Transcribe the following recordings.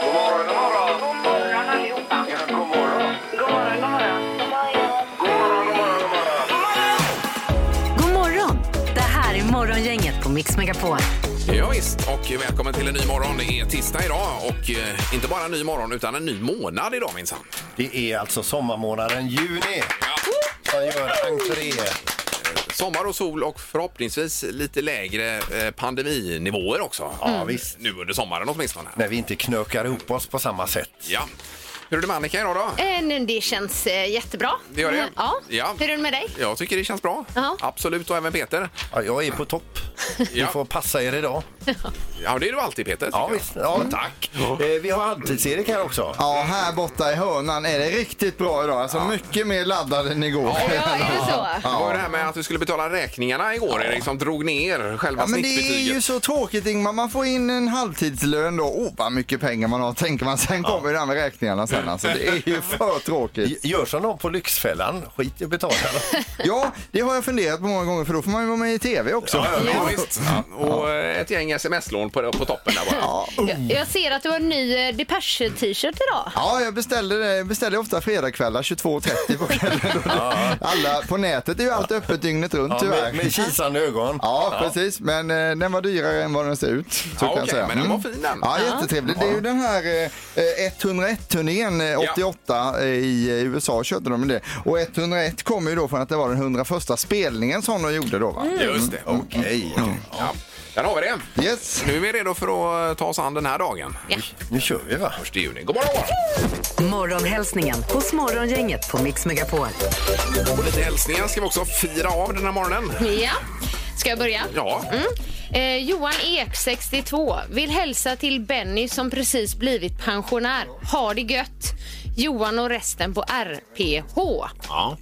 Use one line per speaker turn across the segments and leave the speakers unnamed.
God morgon, god morgon.
God morgon allihopa.
Ja, god morgon.
God morgon, god morgon.
God morgon, god morgon, god morgon.
God morgon! Det här är Morgongänget på Mix Megapol.
Eh,
Ja, visst. och välkommen till en ny morgon. Det är tisdag idag och eh, inte bara en ny morgon utan en ny månad idag minsann.
Det är alltså sommarmånaden juni
Ja.
som gör entré.
Sommar och sol och förhoppningsvis lite lägre eh, pandeminivåer också.
Ja, visst.
Nu under sommaren åtminstone.
När vi inte knökar ihop oss på samma sätt.
Ja. Hur är det med Annika idag då?
Eh, nej, Det känns eh, jättebra.
Det gör det?
Ja.
Ja.
Hur är det med dig?
Jag tycker det känns bra.
Ja.
Absolut, och även Peter.
Ja, jag är på topp. Ni
Ja.
får passa er idag.
Ja, det är du alltid Peter. tycker
Ja,
jag.
visst. Ja, tack. Eh, Vi har halvtids-Erik här också.
Ja, här borta i hörnan är det riktigt bra idag. Alltså mycket mer laddad än igår.
Ja, är det så?
Det var ju det här med att du skulle betala räkningarna igår, Erik, som drog ner själva
Ja, men det är
snittbetyget.
ju så tråkigt Ingmar. Man får in en halvtidslön då. Åh, vad mycket pengar man har tänker man. Sen kommer det här med räkningarna sen alltså. Det är ju för tråkigt.
Gör som de på Lyxfällan. Skit i att betala.
Ja, det har jag funderat på många gånger för då får man ju vara med i tv också.
Ja, visst. Och eh, ett gäng sms-lån på, på toppen där bara.
Jag, jag ser att du har en ny eh, Depeche-t-shirt idag.
Ja, jag beställer, det- beställer ofta fredagskvällar 22.30 på kvällen. Alla på nätet det är ju allt öppet dygnet runt
Ja, med, med
tyvärr.
kisande ögon.
Ja, precis. Men eh, den var dyrare än vad den ser ut. Så kan
okej,
jag säga. Mm.
men den var fin den.
Ja, jättetrevlig. Det är ju den här eh, 101-turnén eh,
Ja.
88 eh, i eh, USA körde de med det. Och 101 kommer ju då från att det var den 101 spelningen som de gjorde då va?
Just det.
Okej.
Ja. Där har vi det.
Yes.
Nu är vi redo för att eh, ta oss an den här dagen.
Nu kör vi, va?
Första juni. God morgon!
Morgonhälsningen hos Morgongänget på Mix Megapol.
Och lite hälsningar ska vi också fira av den här morgonen.
Ja. Ska jag börja?
Ja,
Eh, Johan Ek, 62, vill hälsa till Benny som precis blivit pensionär. Ha det gött! Johan och resten på RPH.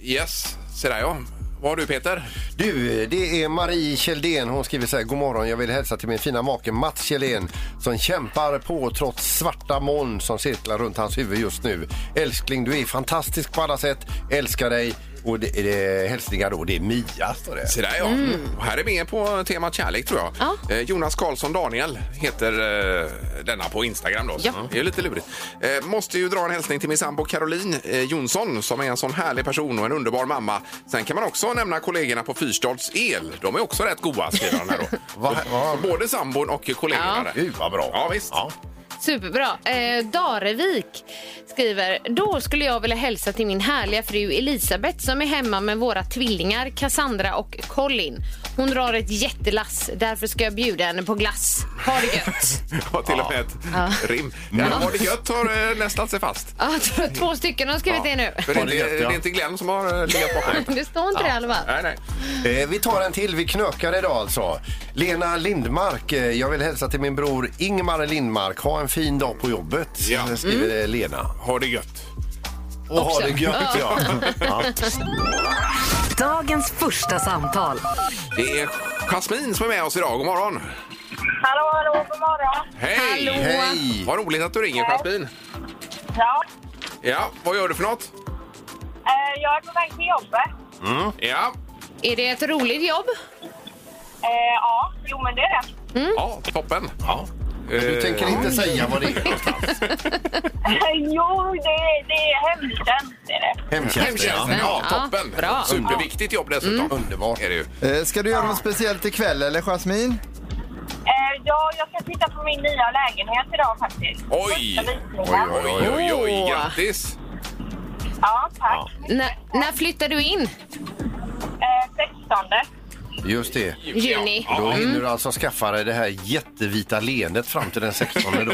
yes. Se där ja. Vad har du Peter?
Du, det är Marie Kjeldén. Hon skriver så här. God morgon, jag vill hälsa till min fina make Mats Kjeldén som kämpar på trots svarta moln som cirklar runt hans huvud just nu. Älskling, du är fantastisk på alla sätt. Älskar dig. Och det, det, hälsningar då, det är Mia, står det.
Se där ja. Mm. Och här är med på temat kärlek tror jag.
Mm. Ja.
Eh, Jonas Karlsson Daniel heter eh, denna på Instagram då.
Ja.
Mm. Det är lite lurigt. Eh, måste ju dra en hälsning till min sambo Caroline eh, Jonsson som är en sån härlig person och en underbar mamma. Sen kan man också nämna kollegorna på Fyrstads El. De är också rätt goa skriver han här då.
Va- va-
Så Både sambon och kollegorna
Ja.
där.
Gud, vad bra.
Ja visst.
Superbra. Eh, Darevik skriver, då skulle jag vilja hälsa till min härliga fru Elisabeth som är hemma med våra tvillingar Cassandra och Colin. Hon drar ett jättelass, därför ska jag bjuda henne på glass. Ha det gött!
Ja, till och med ett rim. Ja. Har det gött har eh, nästlat sig fast.
Ja, t- Två stycken har skrivit det nu.
För det, är
Har det
inte-
gött, ja.
det är inte Glenn som har eh, legat bakom.
Det står inte det i alla fall.
Nej, nej.
Eh, vi tar en till. Vi knökar idag alltså. Lena Lindmark. Eh, jag vill hälsa till min bror Ingmar Lindmark. Ha en fin dag på jobbet,
Ja.
skriver eh, Lena.
Har det gött.
Och ha det gött, ja. ja.
Dagens första samtal.
Det är Jasmine som är med oss idag. God morgon!
Hallå, hallå, god morgon.
Hej!
Hallå.
Hej!
Vad roligt att du ringer Jasmine.
Ja,
Ja, vad gör du för något?
eh, jag är på väg till jobbet.
Ja,
Är det ett roligt jobb?
Eh, ja, jo men det är det.
ja toppen. Ja.
Du
Eh,
tänker inte säga vad det är någonstans?
jo, det, det är hemtjänst. Det är det.
Hemtjänsten, ja.
Hemtjänsten, ja,
Ja,
toppen.
bra.
Superviktigt jobb dessutom.
Underbart.
Är det ju.
Eh, Ska du göra något speciellt ikväll eller Jasmin?
Eh, ja, jag ska titta på min nya lägenhet idag faktiskt.
Oj!
Första visningen.
Oj, oj, oj, oj, grattis!
Ja, tack.
När, när flyttar du in?
Eh, 16.
Just det.
Juni.
Ja,
Då
ja,
hinner du alltså skaffa dig det här jättevita leendet fram till den 16 då.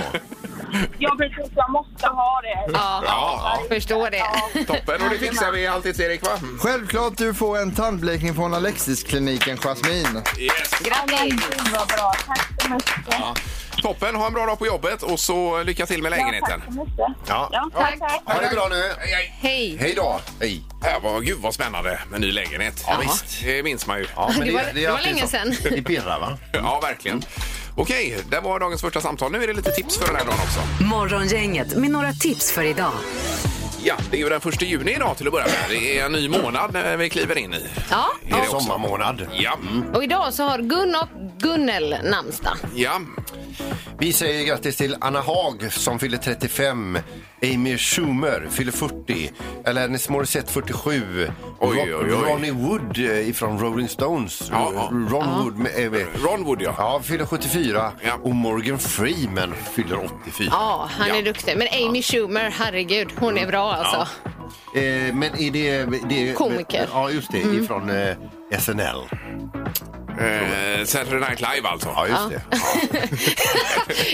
Jag precis, jag måste ha det.
Ja,
ja,
förstår det.
ja, toppen. Och det fixar vi alltid Erik, va?
Självklart du får en tandblekning från Alexiskliniken Jasmin.
Yes!
Grattis!
Gud, vad bra. Tack så mycket. Ja,
Toppen, ha en bra dag på jobbet och så lycka till med lägenheten.
tack så mycket.
Ja.
Ja, tack. tack.
Ha det bra nu.
Hej, hej.
Hej!
Hej då. Hej.
Ja, vad, gud vad spännande med ny lägenhet.
Ja, visst.
Det minns man ju. Ja,
men
Det var- det var
alltid så.
länge sedan.
Det pirrar va?
verkligen. Okej, det var dagens första samtal. Nu är det lite tips för den här dagen också.
Morgongänget med några tips för idag.
Ja, det är ju den första juni idag till att börja med. Det är en ny månad när vi kliver in i.
Ja,
Är det också?
Sommarmånad.
Ja,
och idag så har Gun och Gunnel namnsdag.
ja.
Vi säger grattis till Anna Haag som fyller 35. Amy Schumer fyller 40. Alanis Morissette 47.
Oj,
Ro-
oj, oj.
Ronnie Wood eh, ifrån Rolling Stones.
Ja, ja.
Ron Wood. Med, eh, med.
Ron Wood, ja.
Ja, fyller 74.
Ja.
Och Morgan Freeman fyller 84.
Ja, han
Ja. Mm.
är duktig. Men Amy Schumer, herregud, hon är bra alltså.
Eh, men är det... det
Komiker.
Ja, just det. Ifrån eh, SNL.
Eh, Saturday Night Live alltså.
Ja, just det.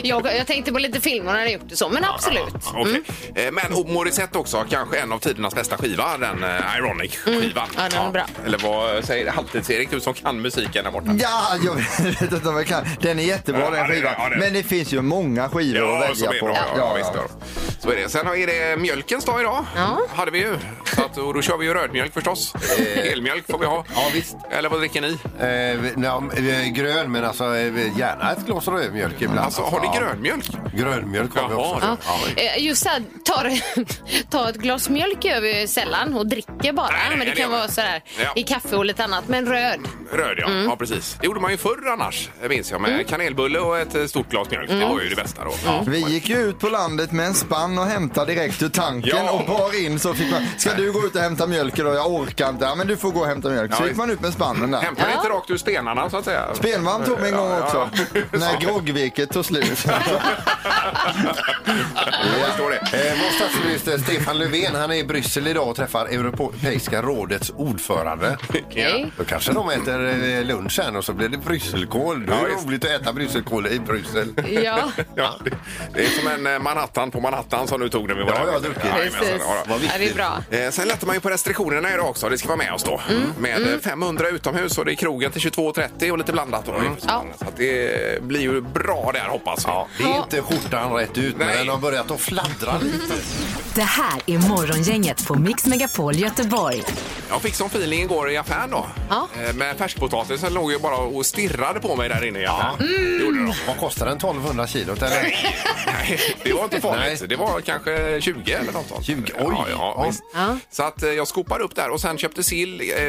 Jag, jag tänkte på lite filmer hon hade gjort och så, men absolut.
Ja, okej. Eh, Men och Morissette också, kanske en av tidernas bästa skiva, den eh, Ironic-skivan.
Ja, den är bra.
Eller vad säger Halvtids-Erik, du som kan musiken där borta?
Ja, jag vet inte om jag kan. Den är jättebra
Ja,
den
det är
skivan.
det, ja, det är det.
Men det finns ju många skivor
Ja,
att
som
välja
är
på.
bra. Ja, visst, ja. Så är det. Sen är det mjölkens dag idag.
Ja.
Hade vi ju. Så att, och då kör vi ju rödmjölk förstås. Helmjölk får vi ha.
Ja, visst.
Eller vad dricker ni?
Eh, nej, eh, grön, men alltså eh, gärna ett glas rödmjölk ibland.
Alltså, har ni
Ja.
grönmjölk?
Grönmjölk har vi
Jaha,
också.
ja.
Ja.
Eh, Just så här, tar, ta ett glas mjölk gör vi ju sällan och dricker bara.
Nej, nej,
men det
det gör
kan
vi.
vara så här
Ja.
i kaffe och lite annat. Men röd.
Röd, ja. Ja, precis. Det gjorde man ju förr annars, minns jag. Med kanelbulle och ett eh, stort glas mjölk. Det var ju det bästa då. Ja.
Vi gick ju ut på landet med en spann och hämtade direkt ur tanken
Ja.
och bar in så fick man, ska du gå ut och hämta mjölk idag? Jag orkar inte. Ja men du får gå och hämta mjölk. Så
Ja,
gick man ut med spannen där.
Hämtade inte rakt ur stenarna så att säga.
Benvarm tog mig en gång
Ja,
också.
ja.
När groggviket tog slut.
Jag förstår det.
Eh, vår statsminister Stefan Löfven han är i Bryssel idag och träffar Europeiska rådets ordförande.
Okej.
Då kanske de äter eh, lunch sen och så blir det brysselkål. Då
Ja,
är det
visst.
roligt att äta brysselkål i Bryssel.
Ja.
Ja, det, det är som en eh, Manhattan på Manhattan som du tog när vi var
Ja,
där.
jag har druckit.
Jajamensan,
Precis.
ja, då.
Vad
Ja, det är
viktigt.
bra.
Eh, Sen lättar man ju på restriktionerna idag också. Det ska vara med oss då.
Mm.
Med eh, 500 utomhus och det är krogen till 22.30 och lite blandat. Då.
Mm.
Mm.
Ja.
Så att det blir ju bra där hoppas vi.
Ja, det är inte skjortan rätt ut, men
Nej.
den har börjat att fladdra lite.
Det här är Morgongänget på Mix Megapol Göteborg.
Jag fick som feeling igår i affären då.
Ja.
Eh, Med färskpotatisen låg ju bara och stirrade på mig där inne i affären. Gjorde de.
Vad kostar den? 1200 kilo? Eller?
Nej, det var inte farligt.
Nej.
Det var kanske 20 eller något sånt.
20, oj.
ja, ja,
Oj.
visst.
Ja.
Så att eh, jag skopar upp där och sen köpte sill, eh,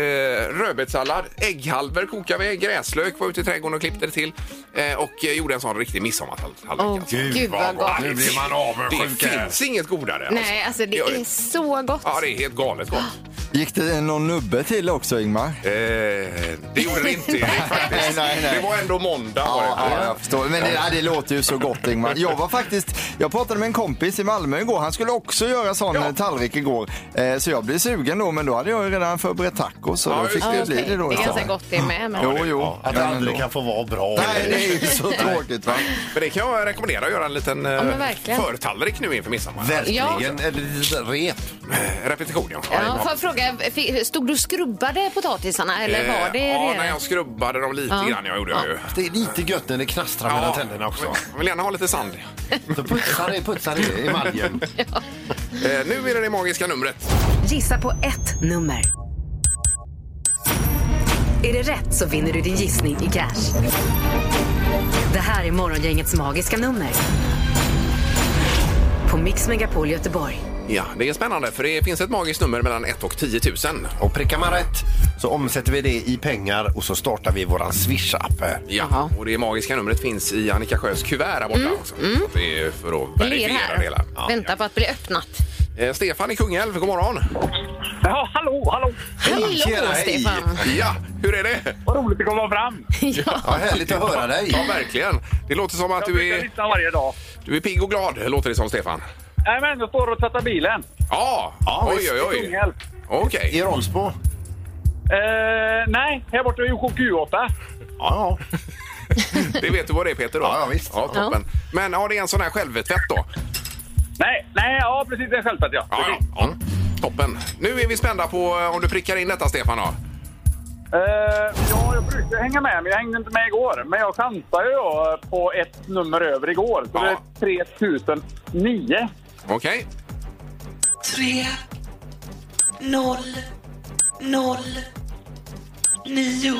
rödbetssallad, ägghalvor kokade vi, gräslök var ute i trädgården och klippte det till eh, och eh, gjorde en sån riktig midsommartallrik.
Åh, gud, vad gott.
Det
Nu blir man
Det
avundsjuk här.
finns inget godare.
Nej, alltså det
gör
är så gott.
Ja, det är helt galet gott.
Gick det någon nubbe till också Ingmar?
Eh, det gjorde det inte Erik, faktiskt.
Nej, nej, nej.
Det var ändå måndag. var
Ja,
det.
ja, jag förstår. Men det, ja, det låter ju så gott Ingmar. Jag var faktiskt, jag pratade med en kompis i Malmö igår. Han skulle också göra sån
Ja.
eh, tallrik igår. Eh, så jag blev sugen då, men då hade jag ju redan förberett tacos. Så
Ja,
då fick
just
Ja,
det
okej.
bli det då
är ganska
istället.
gott det med. Men...
Jo, jo.
Att det
Men
aldrig
ändå.
kan få vara bra.
Nej, det är ju så tråkigt va.
Men det kan jag rekommendera att göra en liten eh,
men verkligen.
förtallrik nu inför midsommar.
Verkligen. Ett litet rep.
Eh, Repetition, ja.
Ja, får jag fråga, fi- stod du och skrubbade potatisarna eller var det
Eh, Ja,
redan?
när jag skrubbade dem lite
Ja.
grann. Jag gjorde jag ju.
Det är lite gött när det knastrar mellan tänderna också.
Jag vill gärna ha lite sand.
Så putsar det, putsar det i maljen.
Eh, nu är det det magiska numret.
Gissa på ett nummer. Är det rätt så vinner du din gissning i cash. Det här är Morgongängets magiska nummer. På Mix Megapol Göteborg.
Ja, det är spännande för det finns ett magiskt nummer mellan 1 och 10 000.
Och prickar man rätt så omsätter vi det i pengar och så startar vi våran Swish-app.
Ja,
Jaha. Mm,
och det magiska numret finns i Annika Sjös kuvert här borta också. Så att det är för att
Det ligger
verifiera det
här.
hela. Ja.
Vänta på att bli öppnat.
Eh, Stefan i Kungälv, god morgon.
Ja, hallå, hallå.
Hallå
tjena, hej.
Stefan!
Ja, hur är det?
Vad roligt att komma fram.
Ja, härligt att höra
Ja,
dig.
verkligen. Det låter som att
Jag
du
brukar
är,
lyssna varje dag.
du är pigg och glad, låter det som Stefan.
Nej, men jag står och tvättar bilen.
Ja, ja oj,
visst,
oj, oj.
Kungälv.
Okej.
I Rolfsbo?
Eh, nej, här borta vid Q8.
Ja, ja.
Det vet du vad det är Peter då?
Ja, ja, visst.
Ja, toppen. Men har det är en sån här självtvätt då?
Nej, nej, ja precis. Det är självklart ja.
Ja, ja, ja. Toppen. Nu är vi spända på eh, om du prickar in detta Stefan då.
Eh, ja, jag brukar hänga med, men jag hängde inte med igår. Men jag chansade ju då på ett nummer över igår. Så
Ja.
det är 3009.
Okej.
tre, noll, noll, nio.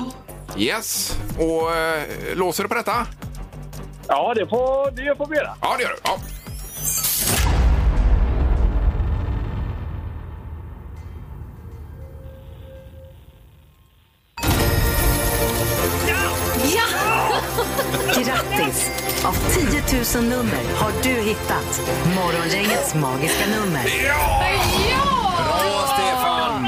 Yes. Och eh, låser du på detta?
Ja, det får, det får vi göra.
Ja, det gör du. Ja.
Ja!
Grattis! Av 10 000 nummer har du hittat Morgongängets magiska nummer.
Bra, Stefan!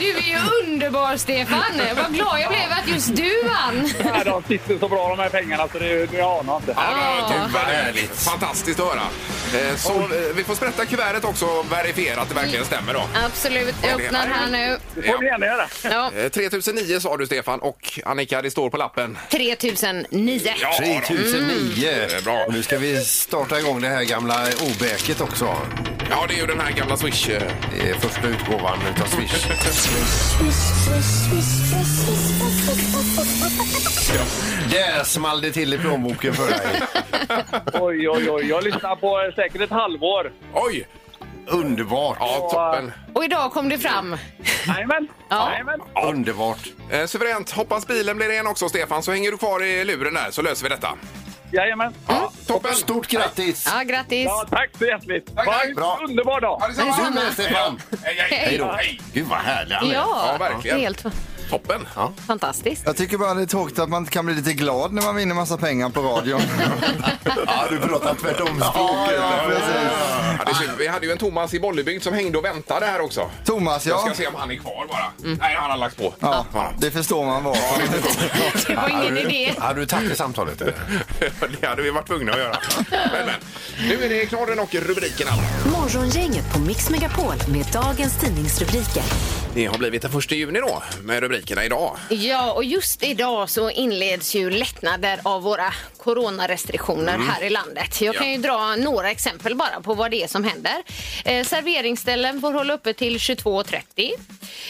Du är ju underbar, Stefan! Vad glad jag blev att just du vann!
Nej, de sitter så bra de här pengarna så det, det anar inte.
Ja, Gud vad härligt. Fantastiskt att höra. Eh, Så eh, vi får sprätta kuvertet också och verifiera att det verkligen stämmer då.
Absolut. Jag öppnar här nu.
Det får vi gärna göra.
Ja,
Eh, 3009 sa du Stefan och Annika, det står på lappen.
3009.
Ja, då.
3009.
Det är bra.
Och nu ska vi starta igång det här gamla obäket också.
ja det är ju den här gamla Swish. eh,
Det är första utgåvan utav Swish. Där small det till i plånboken för dig.
Oj, oj, oj. Jag lyssnar på eh, säkert ett halvår.
Oj!
Underbart!
Ja, toppen.
Och idag kom det fram.
Jajamän.
Ja.
Jajamän.
Underbart!
Eh, Suveränt. Hoppas bilen blir ren också Stefan, så hänger du kvar i luren där så löser vi detta.
Jajamän.
Ja, toppen!
Stort grattis!
Ja, grattis.
Ja, tack så hjärtligt.
Tack,
Ha
tack.
en
Bra.
underbar dag.
Ha det så bra.
Du med Stefan!
Hej, hej.
Hej då.
Hej.
Gud vad härlig han är.
Ja, verkligen.
Helt
Toppen!
fantastiskt.
Jag tycker bara det är tråkigt att man inte kan bli lite glad när man vinner massa pengar på radion.
Ja, du pratar tvärtom
Ja,
språket.
ja, precis.
Ja, det är synd. Vi hade ju en Thomas i Bollebygd som hängde och väntade här också.
Thomas,
Jag
ja.
ska se om han är kvar bara. Nej, han har lagt på.
ja. Det förstår man var.
Det var ingen idé.
Har du tappat samtalet? eller?
det hade vi varit tvungna att göra. Men, men. Nu är det knorren och rubrikerna.
Morgongänget på Mix Megapol med dagens tidningsrubriker.
Det har blivit den första juni då med rubrikerna idag.
Ja, och just idag så inleds ju lättnader av våra coronarestriktioner här i landet. Jag kan
Mm. Ja.
ju dra några exempel bara på vad det är som händer. Eh, serveringsställen får hålla uppe till 22.30.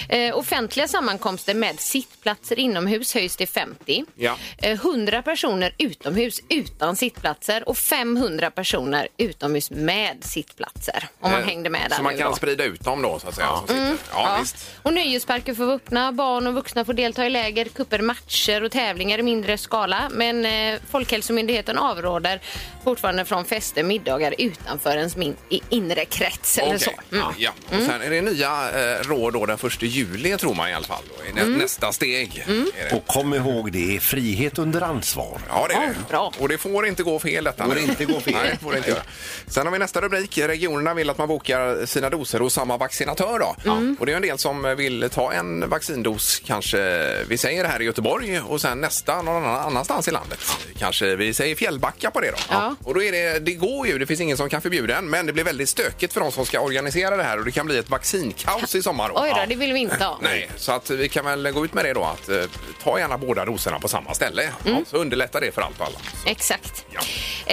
Eh, offentliga sammankomster med sittplatser inomhus höjs till 50.
Ja.
Eh, 100 personer utomhus utan sittplatser och 500 personer utomhus med sittplatser. Om man
Eh,
hängde med där
Så man
nu
kan
då.
sprida ut dem då så att säga. som sitter. Ja,
Ja.
visst.
Och nöjesparker får vara öppna, barn och vuxna får delta i läger, kupper, matcher och tävlingar i mindre skala. Men eh, Folkhälsomyndigheten avråder fortfarande från fester, middagar utanför ens min- i inre krets eller så. Mm.
Okej. Ja. Och sen är det nya eh, råd då den första juli tror man i alla fall. Då. I nä-
Mm.
Nästa steg. Är det.
Och kom ihåg, det är frihet under ansvar.
Ja, det är det.
Ja, bra.
Och det får inte gå fel detta.
Får
nu.
inte gå fel.
Nej, det får det inte göra. Sen har vi nästa rubrik. Regionerna vill att man bokar sina doser hos samma vaccinatör. Då.
Mm.
Och det är en del som vill ta en vaccindos, kanske vi säger här i Göteborg och sen nästa någon annan- annanstans i landet. Kanske vi säger Fjällbacka på det då.
Ja.
Och då är det, det går ju, det finns ingen som kan förbjuda en, men det blir väldigt stökigt för de som ska organisera det här och det kan bli ett vaccinkaos i sommar.
Oj då, det vill vi inte ha.
Nej, så att vi kan väl gå ut med det då att eh, ta gärna båda doserna på samma ställe. Ja, så underlättar det för allt och alla.
Exakt.
Ja.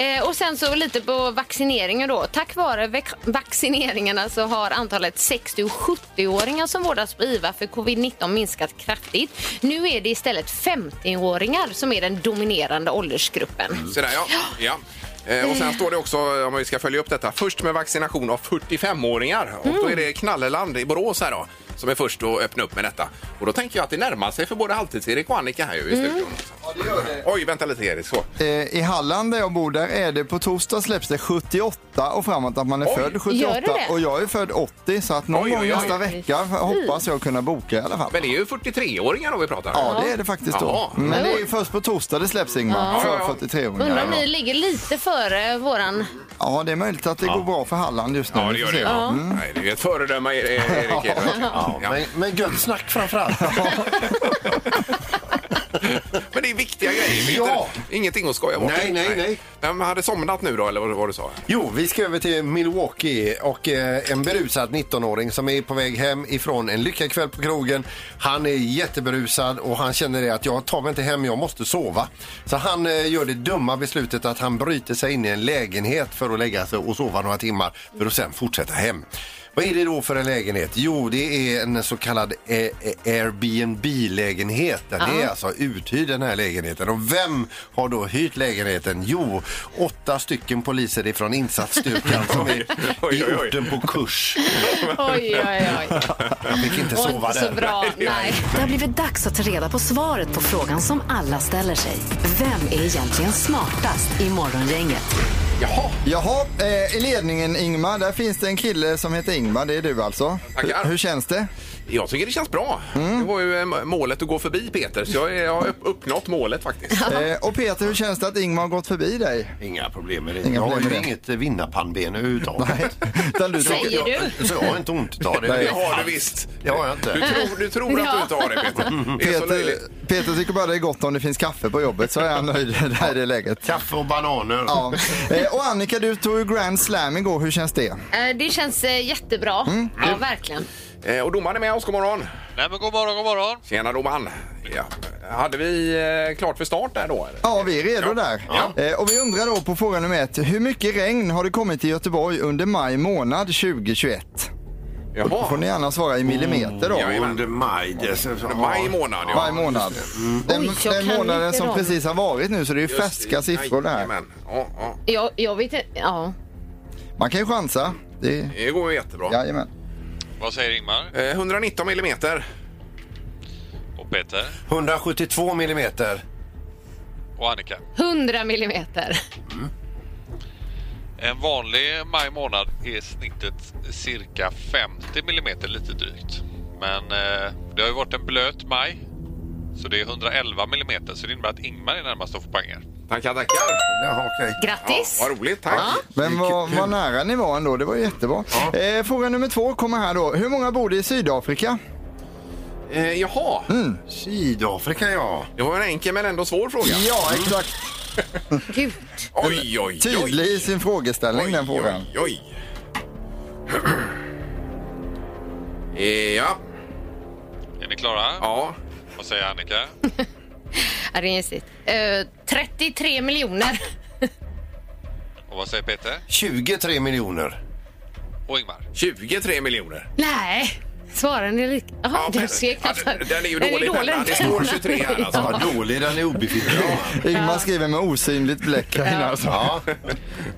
Eh, och sen så lite på vaccineringen då. Tack vare vac- vaccineringarna så har antalet 60 och 70-åringar som vårdas på IVA för covid-19 minskat kraftigt. Nu är det istället 50-åringar som är den dominerande åldersgruppen.
Så där, ja. ja. Eh, och sen står det också, om vi ska följa upp detta, först med vaccination av 45-åringar. Och då är det Knalleland i Borås här då, som är först att öppna upp med detta. Och då tänker jag att det närmar sig för både Halvtids-Erik och Annika här ju i studion. Oj, vänta lite Erik. Så.
Eh, I Halland där jag bor där är det på torsdag släpps det 78 och framåt att man är
Oj.
född
Gör det
78
det?
och jag är född 80 så att någon
Oj, oj,
gång
oj.
nästa vecka hoppas jag kunna boka i alla fall.
Men det är ju 43-åringar då vi pratar om.
Ja, det är det faktiskt då.
Jaha.
Men det är ju först på torsdag det släpps Ingmar,
Ja, ja.
för 43
Undrar om ni
åringar
ligger lite före våran...
Ja, det är möjligt att det går bra för Halland just nu.
Ja, det gör det. Ja. Nej, det är ju ett föredöme, E- E- Erik. är det verkligen. Ja.
Men, men gött snack framförallt.
Men det är viktiga grejer. Peter.
Ja.
Ingenting att skoja bort.
Nej, nej, nej.
Vem hade somnat nu då, eller vad, vad du sa?
Jo, vi ska över till Milwaukee och eh, en berusad 19-åring som är på väg hem ifrån en lyckad kväll på krogen. Han är jätteberusad och han känner det att jag tar mig inte hem, jag måste sova. Så han eh, gör det dumma beslutet att han bryter sig in i en lägenhet för att lägga sig och sova några timmar för att sen fortsätta hem. Vad är det då för en lägenhet? Jo, det är en så kallad eh, Airbnb-lägenhet. Den är alltså uthyrd den här lägenheten. Och vem har då hyrt lägenheten? Jo, åtta stycken poliser ifrån insatsstyrkan som är
oj,
i
oj.
orten på kurs.
Oj, oj, oj.
Jag fick inte
Och
sova
inte så
där.
bra. Nej.
Det har blivit dags att ta reda på svaret på frågan som alla ställer sig. Vem är egentligen smartast i Morgongänget?
Jaha,
Jaha, eh, i ledningen Ingmar, där finns det en kille som heter Ingmar, det är du alltså.
Tackar.
Hur, hur känns det?
jag tycker det känns bra.
Mm.
Det var ju eh, målet att gå förbi Peter, så jag, är- jag har upp- uppnått målet faktiskt.
Eh, och Peter, hur känns det att Ingmar har gått förbi dig?
Inga problem med det.
Inga
jag har
problem
ju
med det.
inget eh, vinnarpannben överhuvudtaget.
Utan du
Säger
tycker-
du?
Så jag har inte ont utav det.
Det har du visst.
Det har jag inte.
Du tror, du tror att du
Ja.
inte har det Peter. Det är så
Peter,
löjligt.
Peter tycker bara det är gott om det finns kaffe på jobbet, så är han nöjd där i det läget.
Kaffe och bananer.
Ja. Eh, och Annika, du tog ju Grand Slam igår, hur känns det?
Eh, Det känns eh, jättebra.
Mm.
Ja, verkligen.
Eh, Och domaren är med oss, god morgon.
Nej men god morgon, god morgon.
Tjena domaren. Ja. Hade vi eh, klart för start där då? eller?
Ja, vi är redo
Ja.
där.
Ja.
Eh, och vi undrar då på fråga nummer ett, hur mycket regn har det kommit i Göteborg under maj månad 2021? Då får ni
Jaha.
gärna svara i millimeter då.
Ja, jajamän.
Under maj. det är så-
Maj månad, Mm. ja.
Varje månad. Den,
Oj, jag
den
kan
månaden
inte
som
dem.
precis har varit nu så det är ju
Just det.
färska siffror det här.
Jajamän. Ja, ja.
Jag, jag vet inte. Ja.
Man kan ju chansa. Det,
Det går ju jättebra.
jajamän.
Vad säger Ingmar
Eh, 119 millimeter.
och Peter
172 millimeter.
och Annika?
100 millimeter.
En vanlig maj månad är snittet cirka 50 millimeter lite drygt. Men eh, det har ju varit en blöt maj. Så det är 111 millimeter så det innebär att Ingmar är närmast att få poänger.
Tackar, tackar.
Jaha, okej.
Ja,
Grattis!
vad roligt, tack.
Men vad, vad nära ni var ändå, det var ju jättebra. Eh, fråga nummer två kommer här då. Hur många bor det i Sydafrika?
Eh, jaha,
Mm.
Sydafrika, ja.
det var en enkel men ändå svår fråga.
Ja, exakt.
Gud.
Oj, oj, oj.
Tydlig i sin frågeställning den frågan.
Oj, oj. Eh, Ja,
Är ni klara?
ja.
Vad säger Annika?
Ja, det är gissigt. Eh, 33 miljoner.
Och vad säger Peter?
23 miljoner.
Och Ingmar?
23 miljoner.
Nej, svarar ni lika? Jaha,
Ja,
den,
men-
ser knappt-
ja, den- den är ju dålig, penna. Det står 23 här, alltså.
Vad dålig den är obefintlig.
Ingmar skriver med osynligt bläck här inne alltså.
Ja.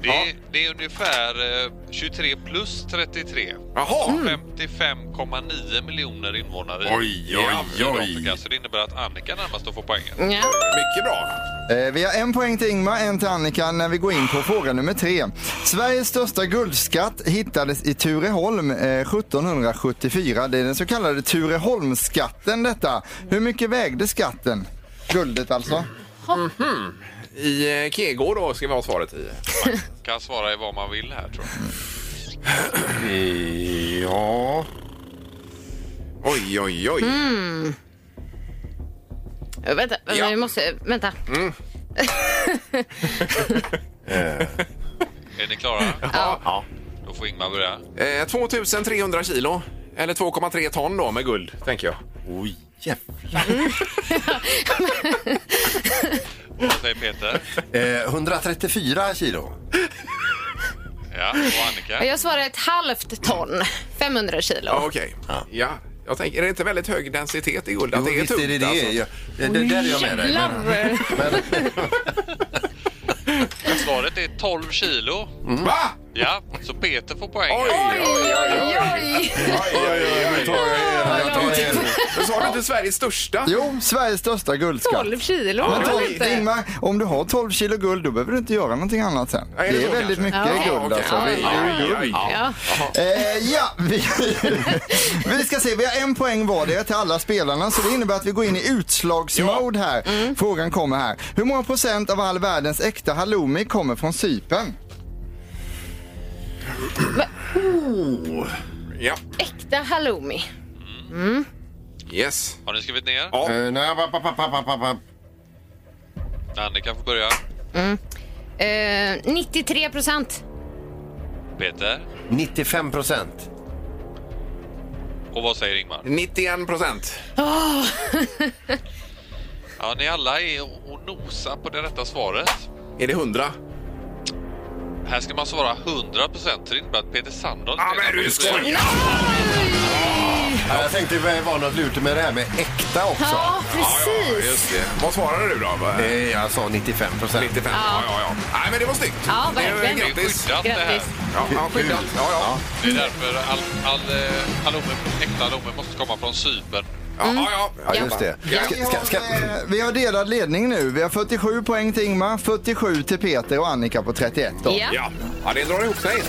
Det är, det är ungefär eh, 23 plus 33.
Jaha.
55,9 miljoner invånare i-
Oj,
i
oj,
Sydafrika. Så det innebär att Annika närmast att få poängen.
Ja.
Mycket bra.
Eh, vi har en poäng till Ingmar, en till Annika när vi går in på fråga nummer tre. Sveriges största guldskatt hittades i Tureholm eh, 1774. Det är den så kallade Tureholmsskatten detta. Hur mycket vägde skatten? Guldet alltså.
I eh, Kego då ska vi ha svaret i.
Kan svara i vad man vill här tror jag.
ja.
Oj, oj, oj.
Eh, Vänta,
Ja. Mm.
vi måste... Vänta.
Är ni klara?
Ja.
Då får Ingmar börja.
Eh, 2300 kilo. Eller 2,3 ton då med guld, tänker jag.
Oj, jävlar.
Vad säger Peter?
Eh, 134 kilo.
Ja, och Annika?
Jag svarar ett halvt ton, 500 kilo.
Ja, okej. Ja. Jag tänker, är det inte väldigt hög densitet i guld? Att det är
visst
tungt
är det det.
alltså?
Ja, det, det där är jag med dig. Men,
Jävlar!
Svaret är 12 kilo.
Va?
Ja, så Peter får poäng.
Oj, oj, oj,
Oj, oj.
oj, oj, oj.
jag tar igen.
Men Sa du inte Sveriges största?
Jo, Sveriges största guldskatt.
12 kilo
Men
var
tolv-
det inte?
Ingmar, om du har 12 kilo guld då behöver du inte göra någonting annat sen. Det
Ja, är det
är
så
väldigt mycket
kanske?
Ja,
guld
okej.
alltså.
Ja,
Vi-
ja, ja, ja.
Ja.
Eh, ja, vi, vi ska se. Vi har en poäng vardera till alla spelarna så det innebär att vi går in i utslagsmode här.
Mm.
Frågan kommer här. Hur många procent av all världens äkta halloumi kommer från Cypern?
Ja.
Äkta halloumi.
Yes.
Har ni skrivit ner?
Ja.
eh, nej, papp, papp, papp, papp, papp.
Annika får börja.
Eh, 93 procent.
Peter?
95 procent.
Och vad säger Ingmar?
91 procent.
Ja, ni alla är och nosar på det rätta svaret.
Är det 100?
Här ska man svara 100 procent. Det innebär att Peter Sandholt...
Ja,
redan-
men du skojar!
Ja, jag tänkte det var något lurt med det här med äkta också.
Ja,
Ja,
precis.
just det. Vad svarade du då?
Eh, jag sa 95 procent.
95? Ja, ja, ja. Nej, men det var snyggt.
Ja,
Det är
verkligen.
Det är
Grattis.
skyddat det här.
Grattis.
Ja, ja, skyddat. Ja, ja.
Det är därför all, all, eh, halloumi, äkta halloumi måste komma från Cypern.
Ja, ja, ja.
Ja, just det.
Ja.
Ska, ska, ska,
Eh, Vi har delad ledning nu. Vi har 47 poäng till Ingmar, 47 till Peter och Annika på 31. Då.
Ja.
Ja. ja, det drar ihop sig.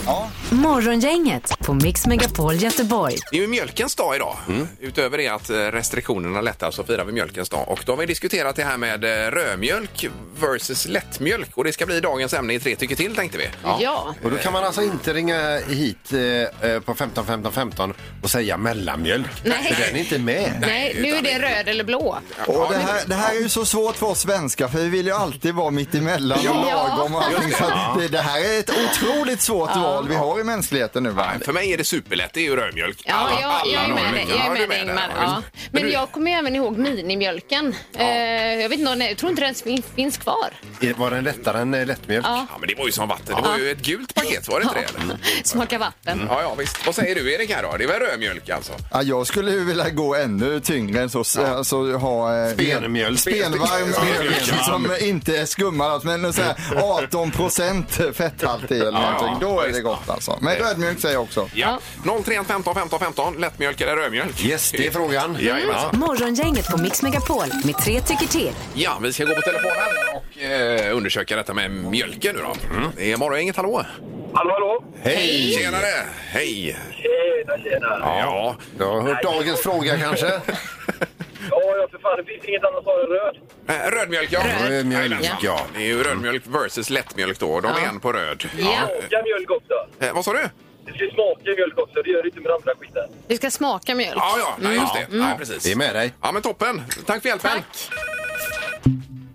Morgongänget på Mix Megapol Göteborg.
Det är ju mjölkens dag idag. Utöver det att eh, restriktionerna lättar så firar vi mjölkens dag. Och då har vi diskuterat det här med eh, rödmjölk versus lättmjölk. Och det ska bli dagens ämne i tre tycker till tänkte vi.
Ja.
och då kan man alltså inte ringa hit eh, eh, på 15 15 15 och säga mellanmjölk.
Nej.
För den är inte med.
Nej, nu är det röd eller blå.
Och det, här, det här är ju så svårt för oss svenskar för vi vill ju alltid vara mitt emellan och
Ja.
lagom och allting. Så att det, det här är ett otroligt svårt val vi har i mänskligheten nu. Va?
Nej, För mig är det superlätt, det är ju rödmjölk.
Ja,
Alla-
jag, jag är
alla
med dig.
rödmjölk.
Jag är
Ja, du
med dig Ingmar.
där, Men
Ja. Men
du-
jag kommer ju även ihåg minimjölken. Eh, Jag vet inte, om den- jag tror inte den fin- finns kvar.
Är- Var den lättare än eh, lättmjölk?
Ja.
Ja, men det var ju som vatten. Det var ju ett gult paket, var det inte det? eller? Mm.
Smaka vatten.
Ja, ja, visst. Vad säger du Erik här då? Det var rödmjölk alltså?
Ja, jag skulle ju vilja gå ännu tyngre än så. Ja. Alltså, ha, eh,
Spenmjöl.
Spenvarm mjölk som inte skummar allt, men så här 18 procent fetthalt i eller någonting. Då är det gott alltså. Men rödmjölk säger jag också.
Ja. 031 15 15 15, lättmjölk eller rödmjölk?
Yes, det är frågan.
Jajamensan.
Morgongänget på Mix Megapol med tre tycker till.
Ja, vi ska gå på telefonen och eh, undersöka detta med mjölken nu då. Mm. Det är morgon, inget hallå?
Hallå, hallå!
Hej! Tjenare! Hej!
Tjena, tjena!
Ja.
Du har hört dagens fråga kanske?
Ja, ja, för fan, det finns inget annat svar än röd.
Eh, Rödmjölk, ja.
Rödmjölk,
Jajamensan.
ja.
Det är ju rödmjölk versus lättmjölk då. De är en på röd.
Ja.
Smaka mjölk också.
Eh, vad sa du?
Det ska ju smaka mjölk också, det gör det inte med andra skiten.
Vi ska smaka mjölk.
Ja, ja, nej, just det. Nej, precis.
Det är med dig.
Ja, men toppen. Tack för hjälpen.
Tack.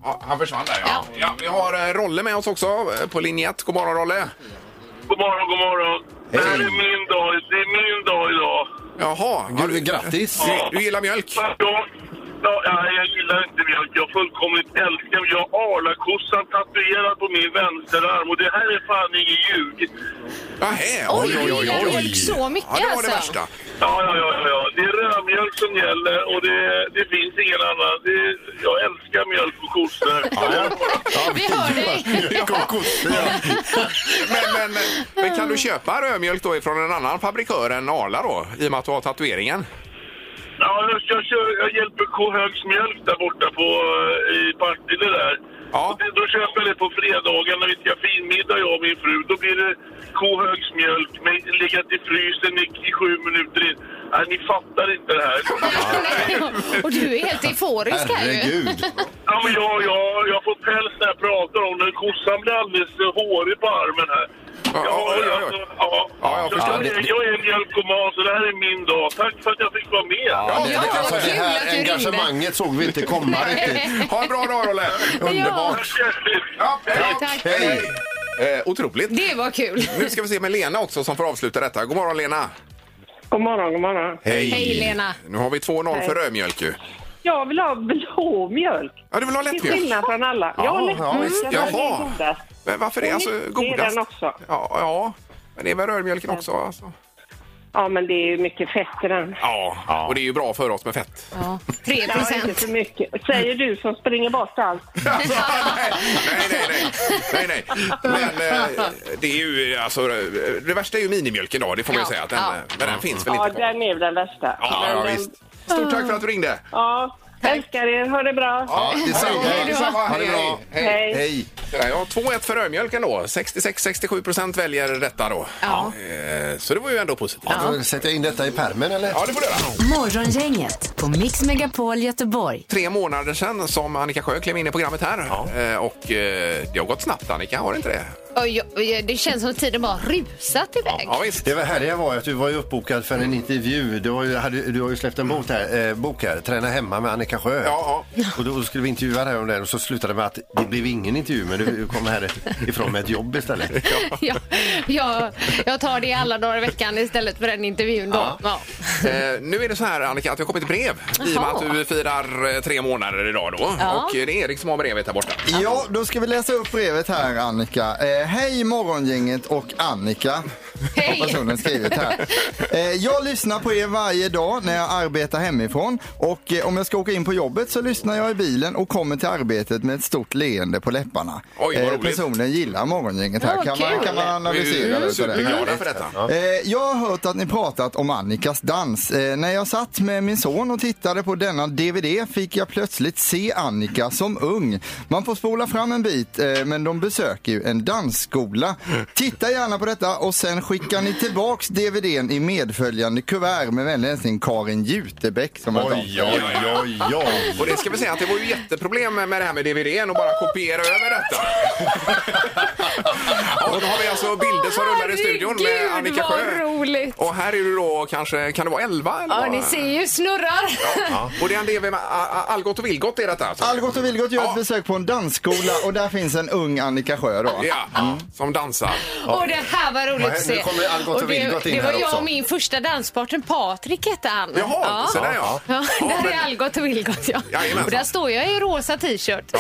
Ja, han försvann där, ja. ja. vi har eh, Rolle med oss också eh, på linje 1. God morgon, Rolle.
God morgon, god morgon. Det här är min dag, det är min dag idag.
Jaha. ja,
Du, grattis!
du- Du gillar mjölk?
Jag, ja, nej, jag gillar inte mjölk. Jag fullkomligt älskar mjölk. Jag har arlakossan tatuerad på min vänsterarm och det här är fan ingen ljug.
Nähä,
Oj, oj, oj, oj. mjölk så mycket
Ja, det var det
alltså.
värsta.
Ja, ja, ja, ja, ja. Det är rödmjölk som gäller och det, det finns ingen annan. Det, jag älskar mjölk och kossor.
Vi hör dig.
Men, men, men kan du köpa rödmjölk då ifrån en annan fabrikör än Arla då? I och med att du har tatueringen?
Ja, jag, jag, kör, jag hjälper Kohögs mjölk där borta på, eh, i Partille där.
Ja.
Och det, då köper jag det på fredagen när vi ska finmiddag jag och min fru. Då blir det Kohögs mjölk med legat i frysen i, i sju minuter in. Nej, ni fattar inte det här.
Nej, Och du är helt euforisk här ju.
Herregud!
Ja, men jag, jag, jag får päls när jag pratar om det. Kossan blir alldeles hårig på armen här.
Ja,
Ja,
oj, oj,
ja,
oj.
ja.
Ja, jag
Så
förstår.
jag, är- jag är mjölkoman, så det här är min dag. Tack för att jag fick vara med.
Ja, det,
Ja,
det, alltså,
vad
det
kul att du
här
ringde.
engagemanget såg vi inte komma riktigt.
Ha en bra dag Rolle!
Underbart!
Ja, hej.
Tack.
Hej!
Eh, otroligt.
Det var kul.
Nu ska vi se med Lena också som får avsluta detta. God morgon Lena!
God morgon, god morgon.
Hej Lena.
Nu har vi 2-0 för rödmjölk ju.
Jag vill ha blå mjölk.
Ja, du vill ha
Till
lättmjölk?
skillnad från alla. Ja,
Ja,
lätt.
ja,
Mm.
visst.
Den här
Jaha.
är godast.
Men varför är alltså
Nyttig är
godast?
den också.
Ja, ja, men det är väl rödmjölken också? Alltså.
Ja, men det är ju mycket fett i den.
Ja, och det är ju bra för oss med fett.
Ja, 3
Det var inte
procent.
för mycket. Säger du som springer bort allt.
Alltså, nej, nej, nej, nej, nej. Men eh, det är ju alltså, det värsta är ju minimjölken då, det får man ju
Ja,
säga. Att den, eh,
ja.
Men den finns väl
Ja,
inte kvar?
den är ju den värsta.
Ja,
Men
ja,
den-
visst. Stort tack för att du ringde.
Ja, älskar er. Ha det bra.
Ja, detsamma.
Hej då.
Detsamma. Ha det bra!
Hej.
Hej.
Hej!
Ja, 2-1 för rödmjölken då. 66-67 procent väljer detta då.
Ja.
Eh, Så det var ju ändå positivt.
Får jag Sätta in detta i pärmen eller?
Ja, det får du göra.
Morgongänget på Mix Megapol Göteborg.
Tre månader sedan som Annika Sjö klev in i programmet här. Eh, Och eh, det har gått snabbt Annika, har det inte det?
Oj, oj, Det känns som att tiden bara rusat iväg.
Ja, visst.
Det var härliga var ju att du var ju uppbokad för en intervju. Du har ju, hade, du har ju släppt en bok här, eh, bok här, Träna hemma med Annika Sjö.
Ja,
Och då skulle vi intervjua dig om den och så slutade det med att det blev ingen intervju men du kom härifrån med ett jobb istället.
Ja, jag, jag tar det alla dagar i veckan istället för den intervjun då. Ja.
Eh, nu är det så här Annika att det har kommit brev i och med
Jaha.
att du firar eh, tre månader idag då.
Ja.
Och eh, det är Erik som har brevet där borta.
Ja, då ska vi läsa upp brevet här Annika. Eh, Hej morgongänget och Annika.
Hej.
har personen skrivit här. Eh, jag lyssnar på er varje dag när jag arbetar hemifrån och eh, om jag ska åka in på jobbet så lyssnar jag i bilen och kommer till arbetet med ett stort leende på läpparna. Eh,
Oj, vad roligt.
personen gillar morgongänget här.
Åh,
kan, man,
kul.
kan man
Vi
analysera
är
det? utav det?
Mm, superglada för detta.
Eh, Jag har hört att ni pratat om Annikas dans. Eh, När jag satt med min son och tittade på denna DVD fick jag plötsligt se Annika som ung. Man får spola fram en bit, eh, men de besöker ju en dansskola. Titta gärna på detta och sen skickar ni tillbaks DVDn i medföljande kuvert med vänlig hälsning Karin Jutebäck som har
Oj, oj, oj, oj.
Och det ska vi säga att det var ju jätteproblem med det här med DVDn och bara kopiera över detta. och då har vi alltså bilder som rullar i studion med
Herregud,
Annika
vad
Sjö.
roligt.
Och här är du då kanske, kan det vara 11 eller?
Ja,
vad?
ni ser ju snurrar.
Ja. Och det är en DV med A- A- Algot och Vilgot är detta alltså?
Algot och Vilgot gör
Ja.
ett besök på en dansskola och där finns en ung Annika Sjö då.
Ja, som dansar.
Och det här var roligt
Vad händer?
att se.
Nu kommer Algot och Vilgot
det,
in
det var
här
jag
också.
och min första danspartner Patrik hette han.
Jaha, så där ja.
Ja.
Ja, där är
men
Algot och Vilgot ja.
Jajamensan.
Och där står jag i rosa t-shirt.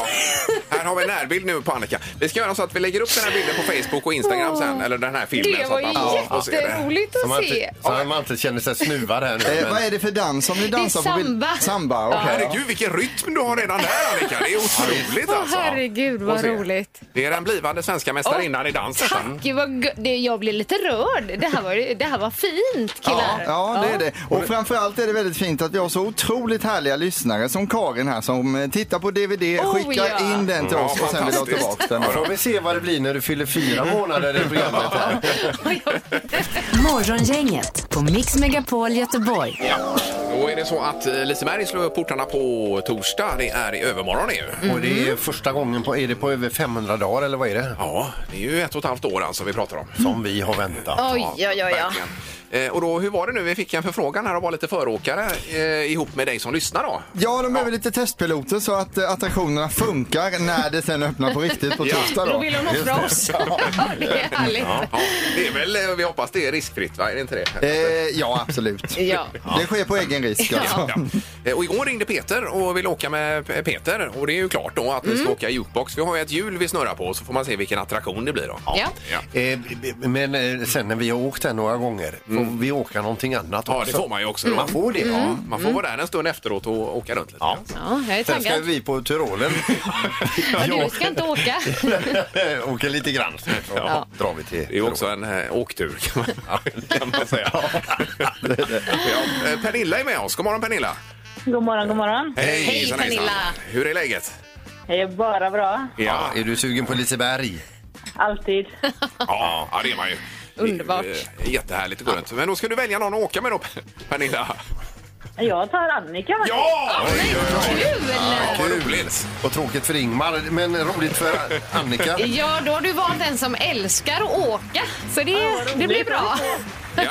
här har vi en närbild nu på Annika. Vi ska göra så att vi lägger upp den här bilden på Facebook och Instagram sen, eller den här filmen.
Det
så
var
att
ju
man får se det.
jätteroligt
Så
att
man
se.
inte, så man inte känner sig snuvad här nu.
Eh, vad är det för dans som ni dansar på? bild-
samba.
Samba, okej.
Herregud, vilken rytm du har redan där Annika. Det är otroligt
Åh
alltså.
herregud
Och
vad
se.
roligt.
Det är den blivande svenska mästarinnan i dans detta.
Tack, gud, vad gö- det, jag blev lite rörd. Det här var, det här var fint killar.
Ja, det är det. Och framförallt är det väldigt fint att vi har så otroligt härliga lyssnare som Karin här som eh, tittar på DVD,
Oh,
skickar
ja.
in den till
Ja,
oss och sen vill ha
fantastiskt.
tillbaka den.
Då får vi se vad det blir när du fyller fyra månader i programmet. Här.
Morgongänget på Mix Megapol Göteborg.
Ja. Då är det så att eh, Liseberg slår upp portarna på torsdag. Det är i övermorgon det är
Mm.
ju.
Och det är första gången på, är det på över 500 dagar eller vad är det?
Ja, det är ju ett och ett halvt år alltså vi pratar om.
Som vi har väntat.
Oj, oj, oj. Ja.
Verkligen. Eh, Och då, hur var det nu? Vi fick en förfrågan här och var lite föråkare eh, ihop med dig som lyssnar då.
Ja, de behöver lite testpiloter så att eh, attraktionerna funkar när det sen öppnar på riktigt på
Ja.
torsdag.
Då vill hon offra oss. Ja, det är härligt.
Ja, det är väl, eh, vi hoppas det är riskfritt va? Är det inte det?
Eh, ja, absolut.
Ja.
Det sker på egen risk. Alltså.
Ja. Eh, Och igår ringde Peter och ville åka med P- Peter. Och det är ju klart då att vi ska åka jukebox. Vi har ju ett hjul vi snurrar på så får man se vilken attraktion det blir då.
Ja.
Eh, b- b- Men eh, sen när vi har åkt här några gånger, får vi åka någonting annat också?
Ja, det får man ju Mm. också. Då.
Man får det.
Ja, man får vara där en stund efteråt och åka runt lite. grann.
Ja, jag är
Sen ska
taggad.
vi på Tyrolen.
Ja, du ska inte åka.
Åka lite grann. Så
Ja.
drar vi till
Det är ju också en eh, åktur kan man, kan man säga. ja, eh, Pernilla är med oss. God morgon Pernilla!
God morgon, god morgon.
Hej,
hejsan, hejsan. Pernilla.
Hur är läget?
Det är bara bra.
Ja,
Är du sugen på Liseberg?
Alltid.
ja, ja det är man ju.
Underbart.
Det är ju, eh, Jättehärligt att gå runt. Men då ska du välja någon att åka med då Pernilla.
Jag tar Annika. faktiskt.
Ja! Oj, oj, oj.
Kul!
Ja, vad roligt.
Och tråkigt för Ingmar, men roligt för Annika.
Ja, då har du valt en som älskar att åka. Så det, det blir bra.
Ja.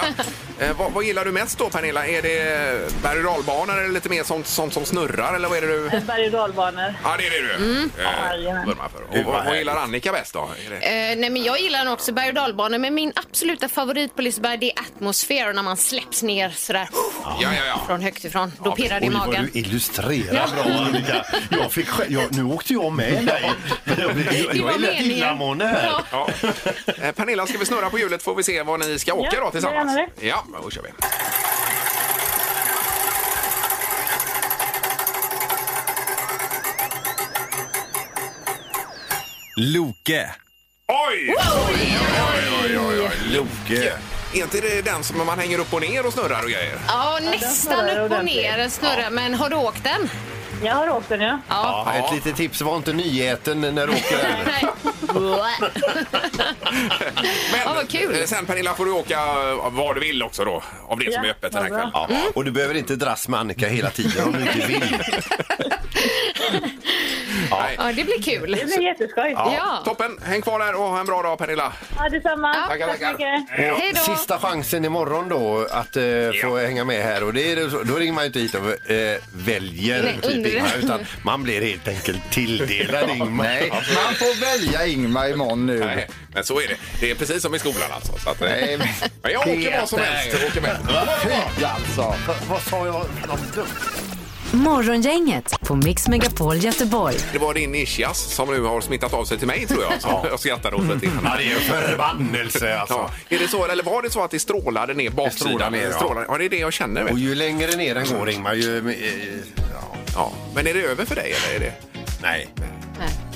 Eh, vad, vad gillar du mest då Pernilla? Är det berg och dalbanor eller lite mer sånt, sånt som snurrar eller vad är det du?
Berg och dalbanor.
Ja det är det du eh,
jajamän.
vurmar för. Och, vad, vad gillar Annika bäst då? Är det...
Eh, nej, men jag gillar också berg och dalbanor, men min absoluta favorit på Liseberg det är atmosfär och när man släpps ner sådär
Ja, ja, ja.
från högt ifrån. Då pirrar det i
Oj, vad
magen.
du illustrerar bra, Annika. Jag fick själv, jag, nu åkte jag med dig. Jag, jag, jag,
Det var
jag är lätt
meningen.
illamående här.
Ja. Eh, Pernilla, ska vi snurra på hjulet får vi se var ni ska åka
Ja,
då tillsammans?
gärna
Ja, då kör vi.
Loke.
Oj! Oj, oj, oj, oj. Loke. Är inte det den som man hänger upp och ner och snurrar och grejer?
Ja, nästan
snurrar
upp och
ordentligt.
ner en snurra, men har du åkt den?
Jag har åkt den, ja.
Ja. Mm.
Ja, ett litet tips, var inte nyäten när du åker här.
Nej.
Men,
Ja, vad kul.
eh, Sen Pernilla får du åka eh, var du vill också då, av det som
Ja,
är öppet den
vad
här
bra.
kvällen.
Ja, och du behöver inte dras med Annika hela tiden om du inte vill.
Nej.
Ja, det blir
Det
kul.
blir jätteskoj.
Ja.
Toppen! Häng kvar där och ha en bra dag Pernilla.
Ja, detsamma.
Tackar,
Tack så
tackar.
mycket.
Hej då.
Sista chansen imorgon då att eh, få hänga med här. Och det är, det så- då ringer man ju inte hit och eh, väljer
Nej,
typ
under-
Ingmar, utan man blir helt enkelt tilldelad Ingmar.
Nej, man får välja Ingmar imorgon nu.
Nej, men så är det. Det är precis som i skolan alltså. Så att, eh,
Nej, men-
men jag åker vad som
Peter.
helst. Jag åker med.
Fy alltså.
Vad sa jag? Vad dumt.
Morgongänget på Mix Megapol Göteborg.
Det var din Ischias som nu har smittat av sig till mig tror jag. Som jag skrattade åt
Mm.
lite innan.
det är en förbannelse
Ja. Är det så, eller var det så att det strålade ner baksidan?
strålar ner, ja.
Strålade- ja. det är det jag känner. Vet.
Och
du.
ju längre ner den går Ingmar ju... eh, Ja,
Ja. Men är det över för dig eller? Är det,
nej,
Nej.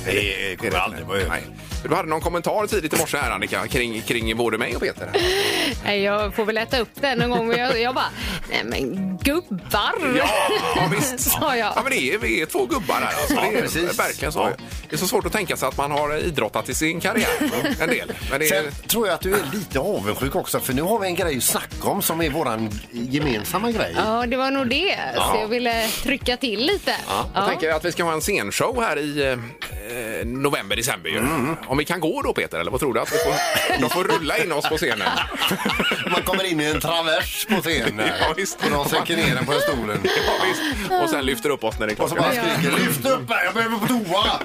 det
är
kommer
det
aldrig vara över.
Nej. För Du hade någon kommentar tidigt i morse här Annika kring, kring både mig och Peter. här.
Nej, Jag får väl äta upp den någon gång. Men jag, jag bara, nej men gubbar!
Ja, ja visst.
Sa jag.
Ja, men det är, vi är två gubbar här. Alltså.
Ja,
det är
precis.
verkligen så.
Ja.
Det är så svårt att tänka sig att man har idrottat i sin karriär. En del. Men det är,
Sen tror jag att du är lite avundsjuk också för nu har vi en grej att snacka om som är våran gemensamma grej.
Ja, det var nog det. Så jag ville trycka till lite. Ja,
Jag tänker att vi ska ha en scenshow här i eh, november, december ju.
Mm.
Om vi kan gå då Peter, eller vad tror du? Att vi får, de får rulla in oss på scenen.
Man kommer in i en travers på scenen
Ja, visst.
och de sänker ner den på stolen.
Ja, visst. Och sen lyfter upp oss när det är
Och
klart.
så bara skriker lyft upp mig, jag behöver på toa!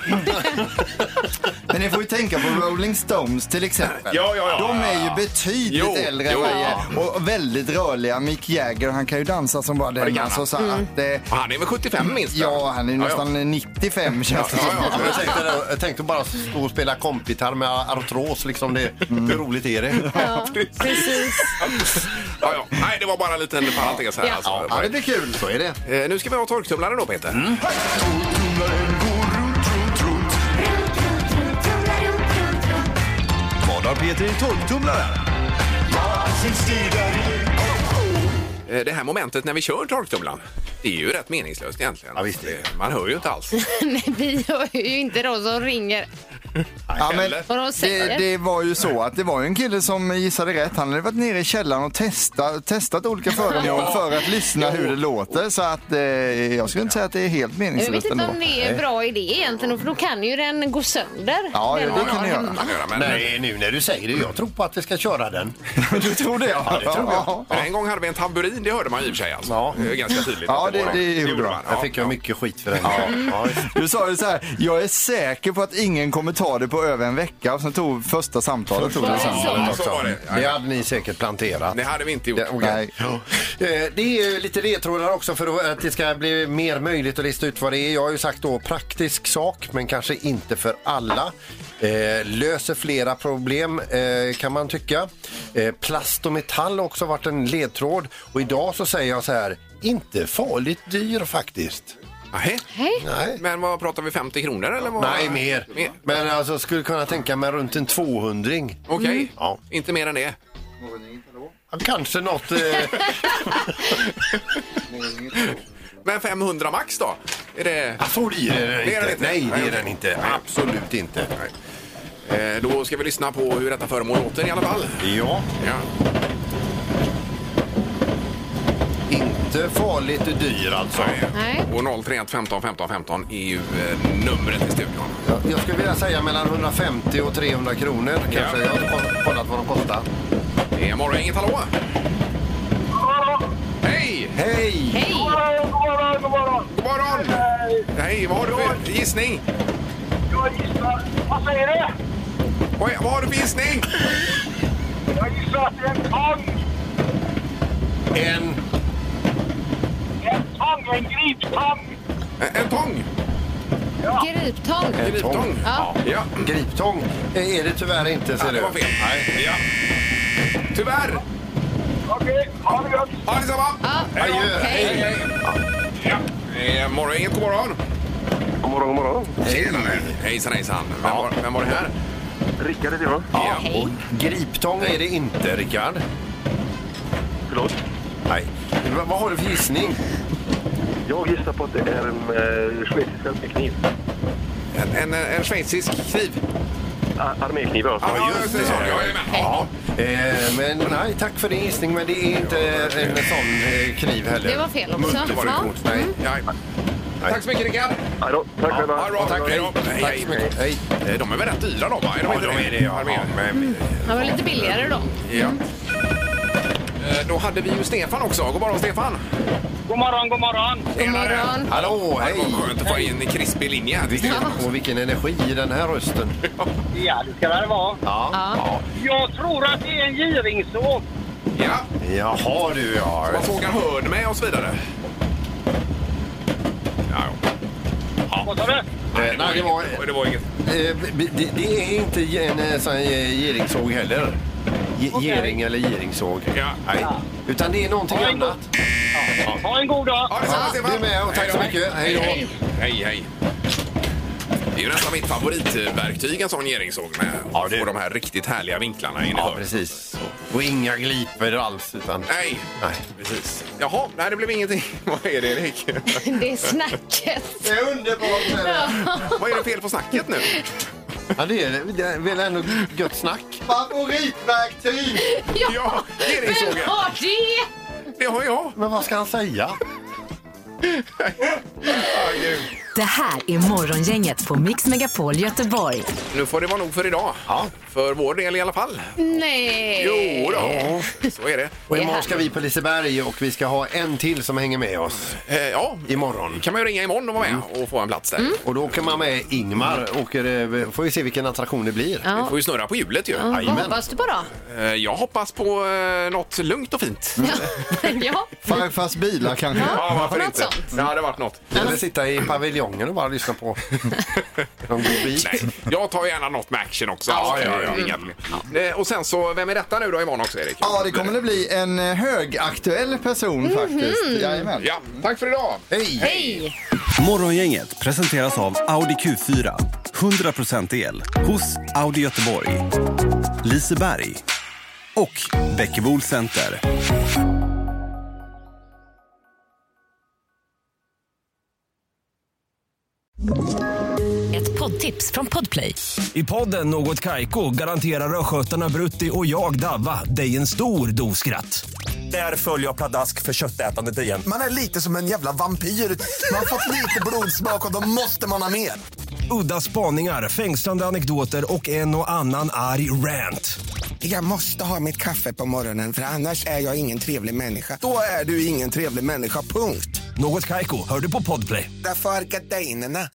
Men ni får ju tänka på Rolling Stones till exempel.
Ja, ja, ja.
De är ju betydligt
Jo,
äldre än
jo.
vad jag är och väldigt rörliga. Mick Jagger, han kan ju dansa som bara
det
den.
kan
Alltså,
han.
så att, eh,
Och Han är väl 75 minst? va?
ja, han är ju
Ja,
nästan 95 känns det
Ja,
som.
ja,
Jag tänkte, jag tänkte bara stå och spela kompgitarr med artros liksom. Det, Hur roligt är det?
Precis.
Ja, ja. Nej, det var bara en liten parentes här.
Ja.
Alltså.
Ja, det blir kul. Så är det.
Eh, Nu ska vi ha torktumlaren då Peter.
Vad har Peter i torktumlaren?
Eh, Det här momentet när vi kör torktumlaren, det är ju rätt meningslöst egentligen.
Ja, visst.
Eh, Man hör ju inte alls.
Nej, vi hör ju inte de som ringer.
Ja, men
Eller?
Vad de säger.
det, det var ju så att det var ju en kille som gissade rätt. Han hade varit nere i källaren och testat, testat olika föremål för att lyssna hur det låter. Så att eh, jag skulle inte säga att det är helt
Jag vet
meningslöst
inte
ändå.
om det är en bra idé egentligen, för då kan ju den gå sönder.
Ja, ja, det
den vi
kan
har
ni göra.
hemma.
Man hör, Men,
Nej, nu när du säger det. Jag tror på att vi ska köra den.
Du tror det? Ja, det tror jag.
men en gång hade vi en tamburin, det hörde man i och för sig. Alltså.
Ja.
Eh, Ganska tydligt.
Ja,
att
det-
var
det gjorde man.
man.
Där fick jag mycket skit för den. Ja.
Du sa ju så här, jag är säker på att ingen kommer ta det på över en vecka. Och sen tog första samtalet tog det sen.
Ja, så var det.
Det hade ni säkert planterat.
Det hade vi inte gjort.
Ja, okej.
Nej.
Ja. Eh, Det är ju lite ledtrådar också för att det ska bli mer möjligt att lista ut vad det är. Jag har ju sagt då praktisk sak, men kanske inte för alla. Eh, löser flera problem eh, kan man tycka. Eh, plast och metall har också varit en ledtråd. Och idag så säger jag så här, inte farligt dyr faktiskt.
Nähä.
Nej.
Men vad pratar vi, 50 kronor eller? Vad?
Nej, mer. Men alltså skulle kunna tänka mig runt en 200
Okej,
Mm. Ja.
inte mer än det.
Kanske något... Eh,
Men 500 max då? Är det...
Ja, så det är den
Det är den inte.
inte. Nej, det
Nej,
är den
okej.
inte.
Nej.
Absolut inte.
Eh, då ska vi lyssna på hur detta föremål låter i alla fall.
Ja,
Ja.
inte farligt och dyr alltså.
Nej.
Och 031 15 15 15 är ju eh, numret till studion.
Jag, jag skulle vilja säga mellan 150 och 300 kronor kanske. Jag har inte koll- kollat vad de kostar.
Det är morgon, inget hallå! Hej!
Hej!
Hej!
God morgon, god morgon!
God morgon! Hej, vad har du för gissning?
Jag gissar... Vad säger du?
Vad, vad har du för gissning?
Jag gissar att det är en tång!
En...
En tång, en griptång!
Eh, En tång!
Griptång.
En griptång.
Ja.
ja.
Griptång eh, är det tyvärr inte, ser
Det
du.
var fel. Nej. Ja. Tyvärr!
Okej, ha det gött!
Ha detsamma!
Ja.
Hej då.
Adjö.
Hej, hej! Ja. Eh, morgon, inget god morgon!
God morgon, god morgon.
Tjenare! Hejsan hejsan! Vem, var, vem var det här?
Rickard heter jag.
Ja.
Och griptång är det inte, Rickard.
Förlåt.
Nej. Va- vad har du för gissning?
Jag gissar på att det är en eh, schweizisk kniv.
En, en, en schweizisk kniv.
Ar- Armékniv, ja.
det. sa du. Ja, jajamän.
Ja, eh, men nej, tack för din gissning, men det är inte en sån eh, kniv heller.
Det var fel också.
Munt var det
Ja.
mot,
Mm.
nej.
Jajamän. Tack så mycket Rickard!
Hej då. Tack själva.
Ha det bra.
Tack,
Hej
hej.
då. Hej,
Tack
hej.
så mycket. Hej.
Eh, De är väl rätt dyra de va? Är
Ja, de är det, Mm. ja.
Armén.
Ja, men-
Det var lite billigare då.
Ja. Eh, Då hade vi ju Stefan också. God morgon Stefan!
God morgon, god morgon!
God morgon.
Hallå,
Det var
hej!
skönt att få in en krispig linje här till Stefan.
Och vilken energi i den här rösten.
Ja, det ska det vara.
Ja.
Jag tror att det är en giringsåg.
Ja,
Jaha du ja.
vad frågar hörde med och så vidare.
Vad sa du?
Nej, det var,
Eh, det var inget.
Eh, b- Det, det är inte ge- en eh, sån eh, giringsåg heller. Ge- Gering eller giringsåg. Nej. Utan det är någonting annat.
Ha en god dag!
Ja, detsamma Stefan!
Du är med och tack så mycket. Hej då.
Hej, hej. hej. Det är ju nästan mitt favoritverktyg, en sån geringsåg med. Ja, det... Och de här riktigt härliga vinklarna in i
Ja,
hörnet.
precis. Och inga gliper alls. Utan...
Nej,
Nej.
precis. Jaha, nej det blev ingenting. Vad är det Erik?
Det är snacket.
Det är underbart!
Vad är det fel på snacket nu?
Ja, det är det. Det är väl ändå gött snack.
Favoritverktyg!
Ja, geringsågen.
Vem har det?
Det har jag.
Men vad ska han säga?
Ah, gud.
Det här är Morgongänget på Mix Megapol Göteborg.
nu får det vara nog för idag.
Ja.
För vår del i alla fall.
Nej.
Jo då. så är det.
Och imorgon ska vi på Liseberg och vi ska ha en till som hänger med oss
Eh, ja,
imorgon. Mm.
kan man ju ringa imorgon och vara med och få en plats
Mm.
där.
Och då kan man med Ingmar och eh, får vi se vilken attraktion det blir.
Vi får ju snurra på hjulet ju.
Ja, Vad
Jajamän.
hoppas du på då?
Eh, Jag hoppas på eh, något lugnt och fint.
ja.
Farfars bilar kanske?
Ja, varför
Något
inte?
sånt.
Det hade varit något.
Eller sitta i paviljongen och bara lyssna på någon god bit.
Nej, jag tar gärna något med action också. Mm.
Ja, ja, ja.
Inga problem. Eh, Och sen så, vem är detta nu då imorgon också Erik?
Ja, det kommer det bli en eh, högaktuell person faktiskt. Jajamän.
Ja, tack för idag!
Hej!
Hej!
Morgongänget presenteras av Audi Q4. 100% el hos Audi Göteborg, Liseberg och Bäckebol Center.
Ett poddtips från Podplay.
I podden Något Kaiko garanterar östgötarna Brutti och jag, Davva, dig en stor dos skratt. Där följer jag pladask för köttätandet igen.
Man är lite som en jävla vampyr. Man har fått lite blodsmak och då måste man ha mer.
Udda spaningar, fängslande anekdoter och en och annan arg rant.
Jag måste ha mitt kaffe på morgonen för annars är jag ingen trevlig människa. Då är du ingen trevlig människa, punkt.
Något Kaiko, hör du på Podplay.
Därför arkadeinerna.